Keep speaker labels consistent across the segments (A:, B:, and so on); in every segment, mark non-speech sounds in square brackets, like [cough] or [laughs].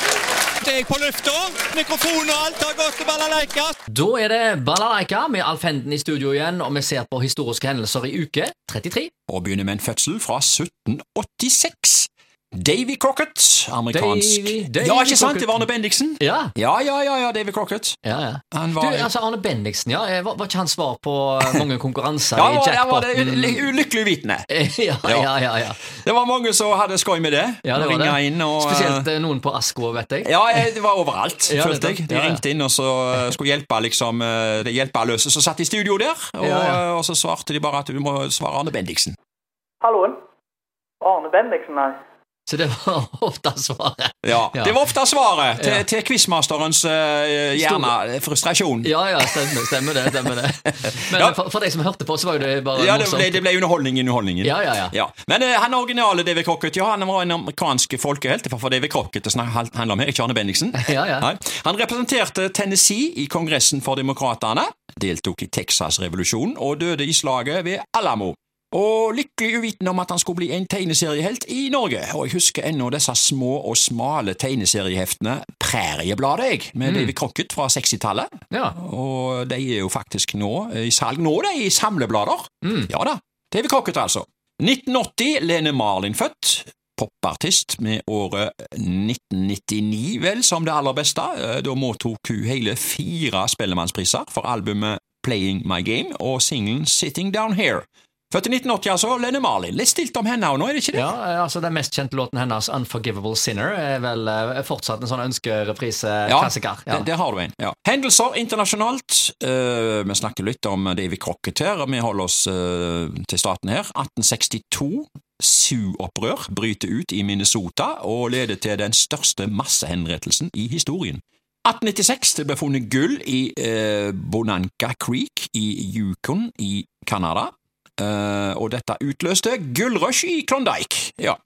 A: Snart er jeg på lufta. Mikrofon og alt har gått til balalaika.
B: Da er det Balalaika med Alf Henden i studio igjen, og vi ser på historiske hendelser i uke 33.
A: Og begynner med en fødsel fra 1786. Davy Crocket, amerikansk
B: Davy- Davy
A: Ja, ikke sant?
B: Crockett.
A: Det var Arne Bendiksen.
B: Ja,
A: Ja, ja, ja, ja, Davy Crocket.
B: ja, ja.
A: Han
B: Du,
A: var
B: altså Arne Bendiksen, ja. eh, Var, var ikke han svar på eh, mange konkurranser
A: Ja,
B: i
A: var, ja, var det
B: jackpoten?
A: uly- ulykkelig uvitende.
B: [laughs] ja, ja, ja, ja.
A: Det var mange som hadde skøy med det.
B: ja det var
A: Ringa
B: det.
A: inn og eh,
B: Spesielt eh, noen på Askvo, vet jeg.
A: Ja, eh, det var overalt,
B: Ja,
A: følte
B: nettopp.
A: jeg. De
B: Ja, ja.
A: ringte inn og så eh, skulle hjelpe liksom, eh, de hjelpeløse som satt i studio der. Og,
B: Ja, ja.
A: eh, og så svarte de bare at du må svare Arne Bendiksen.
C: Halloen? Arne Bendiksen, nei.
B: Så det var [laughs] ofte svaret.
A: Ja.
B: Ja.
A: Det var ofte svaret til,
B: Ja.
A: til quizmasterens eh, gjerne frustrasjon.
B: Ja, ja, stemmer, stemmer det. stemmer
A: [laughs]
B: det. Men
A: Ja.
B: for, for de som hørte på, så var jo det bare
A: Ja, det
B: morsomt.
A: ble, det ble underholdning i underholdningen.
B: Ja, ja, ja.
A: Ja. Men eh, han originale David Crocket, ja, han var en amerikansk folkehelt. Det var for David Crocket det snak- handler om her, ikke Arne Bendiksen.
B: Ja, ja.
A: Nei. Han representerte Tennessee i Kongressen for Demokratene, deltok i Texas-revolusjonen og døde i slaget ved Alamo. Og lykkelig uvitende om at han skulle bli en tegneseriehelt i Norge. Og jeg husker ennå disse små og smale tegneserieheftene Præriebladet, jeg, med David Crocket fra 60-tallet.
B: Ja.
A: Og de er jo faktisk nå i salg. Nå er de i samleblader. Ja da. TV Crocket, altså. 1980, Lene Marlin født. Popartist med året 1999, vel, som det aller beste. Eh, Da mottok hun hele fire Spellemannspriser for albumet Playing My Game og singelen Sitting Down Here. Født i 1980, altså. Lene Marlin. Litt stilt om henne og nå, er det ikke det?
B: Ja, eh, altså Den mest kjente låten hennes, 'Unforgivable Sinner', er vel eh, fortsatt en sånn ønskereprise-klassiker. Ja.
A: Der, der har du en. Ja. Hendelser internasjonalt. Eh, vi snakker litt om Davy Crocket her, og vi holder oss eh, til staten her. 1862. Sioux-opprør bryter ut i Minnesota og leder til den største massehenrettelsen i historien. 1896 det ble funnet gull i eh, Bonanca Creek i Yukon i Canada, eh, og dette utløste gullrush i Klondyke. Ja.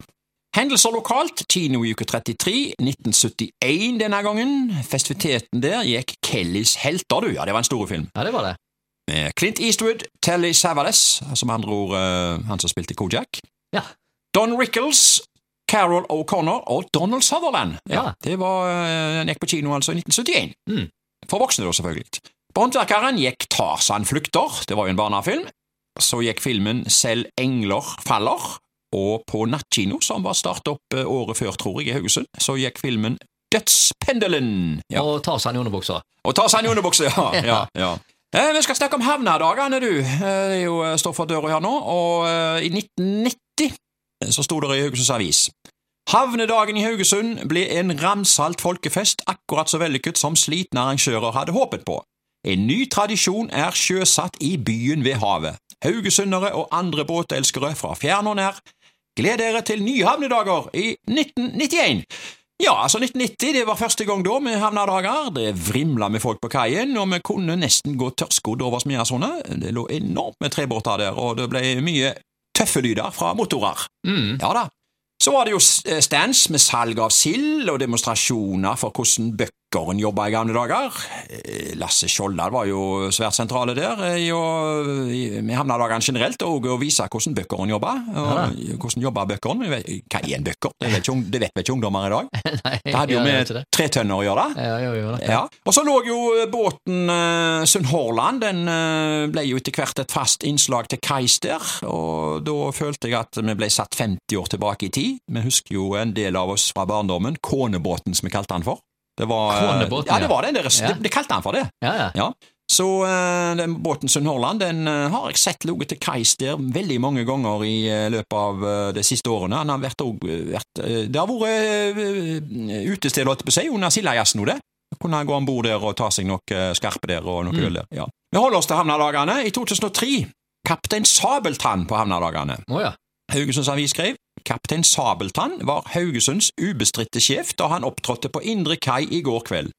A: Hendelser lokalt, kino i uke 33, 1971 denne gangen. Festiviteten der gikk Kellys helter, du. Ja, det var en stor film.
B: ja, det var det.
A: Med Clint Eastwood, Telly Savalas, som med andre ord eh, han som spilte Kojak.
B: Ja.
A: Don Rickles, Carol O'Connor og Donald Sutherland.
B: Ja.
A: Det var, eh, Han gikk på kino altså i 1971.
B: Mm.
A: For voksne, da, selvfølgelig. På Håndverkeren gikk Tarzan flykter, det var jo en barnefilm. Så gikk filmen Selv engler faller, og på nattkino, som var startet opp eh, året før, tror jeg, i Haugesund, så gikk filmen Dødspendelen. Ja.
B: Og Tarzan i underbuksa. [laughs]
A: Og ta seg en underbukse, ja. ja, ja. Eh, vi skal snakke om havnedagene, du. Eh, det er jo, eh, står for døra her nå. Og eh, i 1990 så sto det i Haugesunds Avis Havnedagen i Haugesund ble en ramsalt folkefest akkurat så vellykket som slitne arrangører hadde håpet på. En ny tradisjon er sjøsatt i byen ved havet. Haugesundere og andre båtelskere fra fjern og nær, gled dere til nye havnedager i 1991! Ja, altså 1990, det var første gang da med havnedager. Det vrimla med folk på kaien, og vi kunne nesten gå tørrskodd over Smiasona. Det lå enormt med trebåter der, og det ble mye tøffe lyder fra motorer.
B: Mm.
A: Ja da. Så var det jo s- eh, stands med salg av sild og demonstrasjoner for hvordan bøkkeren jobba i gamle dager. Eh, Lasse Skjoldal var jo svært sentrale der eh, i å- i- med havnedagene generelt, og å vise hvordan bøkkeren jobba. Og Hvordan jobba bøkkeren? Jeg vet- Hva er en bøkker? Det vet, ikke ung- det vet vel ikke ungdommer i dag.
B: [laughs]
A: Det hadde jo
B: Ja,
A: med
B: vet du det.
A: tretønner å gjøre.
B: Ja, jo, jo, det.
A: Ja. Og så lå jo eh, båten uh, Sunnhordland. Den eh, ble jo etter hvert et fast innslag til kais der, og da følte jeg at vi ble satt 50 år tilbake i tid. Vi husker jo en del av oss fra barndommen, Kånebåten som vi kalte han for. Det var, eh,
B: Kånebåten,
A: ja.
B: ja.
A: det var den deres.
B: Ja.
A: Det, det kalte han for det.
B: Ja, ja.
A: Ja. Så eh, den båten Sunnhordland den eh, har jeg sett ligget til kais der veldig mange ganger i eh, løpet av eh, de siste årene. Han har vært, og, vært eh, Det har vært eh, utested, holdt jeg på å si, under Sildajazzen nå, det. Kunne han gå om bord der og ta seg noe eh, skarpe der og noe
B: Mm.
A: øl der. Ja. Vi holder oss til havnedagene. I 2003 Kaptein Sabeltann på havnedagene.
B: Å, ja.
A: Haugesunds Avis skrev Kaptein Sabeltann var Haugesunds ubestridte sjef da han opptrådte på Indre Kai i går kveld.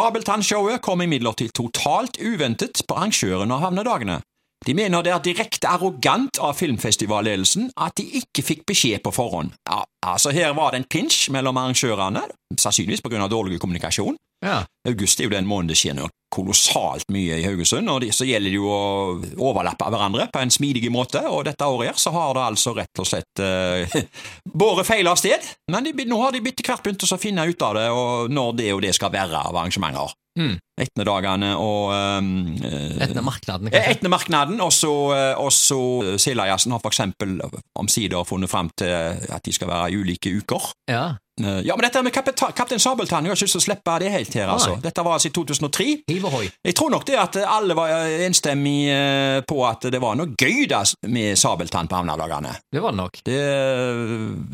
A: Sabeltann-showet kom imidlertid totalt uventet på arrangørene av havnedagene. De mener det er direkte arrogant av filmfestivalledelsen at de ikke fikk beskjed på forhånd. Ja, altså Her var det en pinsj mellom arrangørene, sannsynligvis på grunn av dårlig kommunikasjon.
B: ja.
A: August er jo den måneden det skjer noe kolossalt mye i Haugesund, og de- så gjelder det jo å overlappe hverandre på en smidig måte, og dette året her så har det altså rett og slett eh, [laughs] båret feil av sted, men de, be- nå har de bitte hvert begynt å finne ut av det, og når det og det skal være av arrangementer.
B: Mm.
A: Etnedagene og eh,
B: Etter markedene,
A: Eh,
B: kanskje.
A: Etnemarknaden, og så, eh, og så Sildajazzen har for eksempel omsider funnet frem til at de skal være i ulike uker.
B: Ja.
A: Eh, Ja, men dette med Kapita- Kaptein Sabeltann, jeg har ikke lyst til å slippe det helt her, altså.
B: Nei.
A: Dette var altså i 2003.
B: Hiv ohoi.
A: Jeg tror nok det at alle var eh, enstemmig eh, på at det var noe gøy da med Sabeltann på havnedagene.
B: Det var det nok.
A: Det,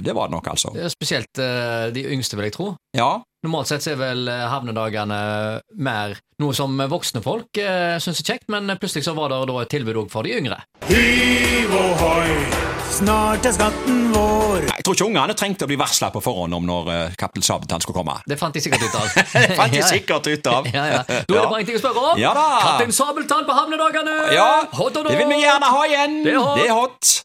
A: det var det nok, altså.
B: Det er Spesielt eh, de yngste, vil jeg tro.
A: Ja,
B: Normalt sett så er vel eh, havnedagene eh, mer noe som voksne folk eh, syns er kjekt, men plutselig så var det da et tilbud òg for de yngre.
D: Hiv ohoi, snart er skatten vår.
A: jeg tror ikke ungene trengte å bli varsla på forhånd om når eh, Kaptein Sabeltann skulle komme.
B: Det fant de sikkert ut av.
A: [laughs] Det fant
B: [laughs]
A: de
B: Ja, ja.
A: sikkert ut av.
B: Ja, ja. Da er det bare en ting å spørre om.
A: Ja da.
B: Kaptein Sabeltann på havnedagene!
A: Ja,
B: Hot og
A: det vil vi gjerne ha igjen.
B: Det er hot.
A: Det er hot.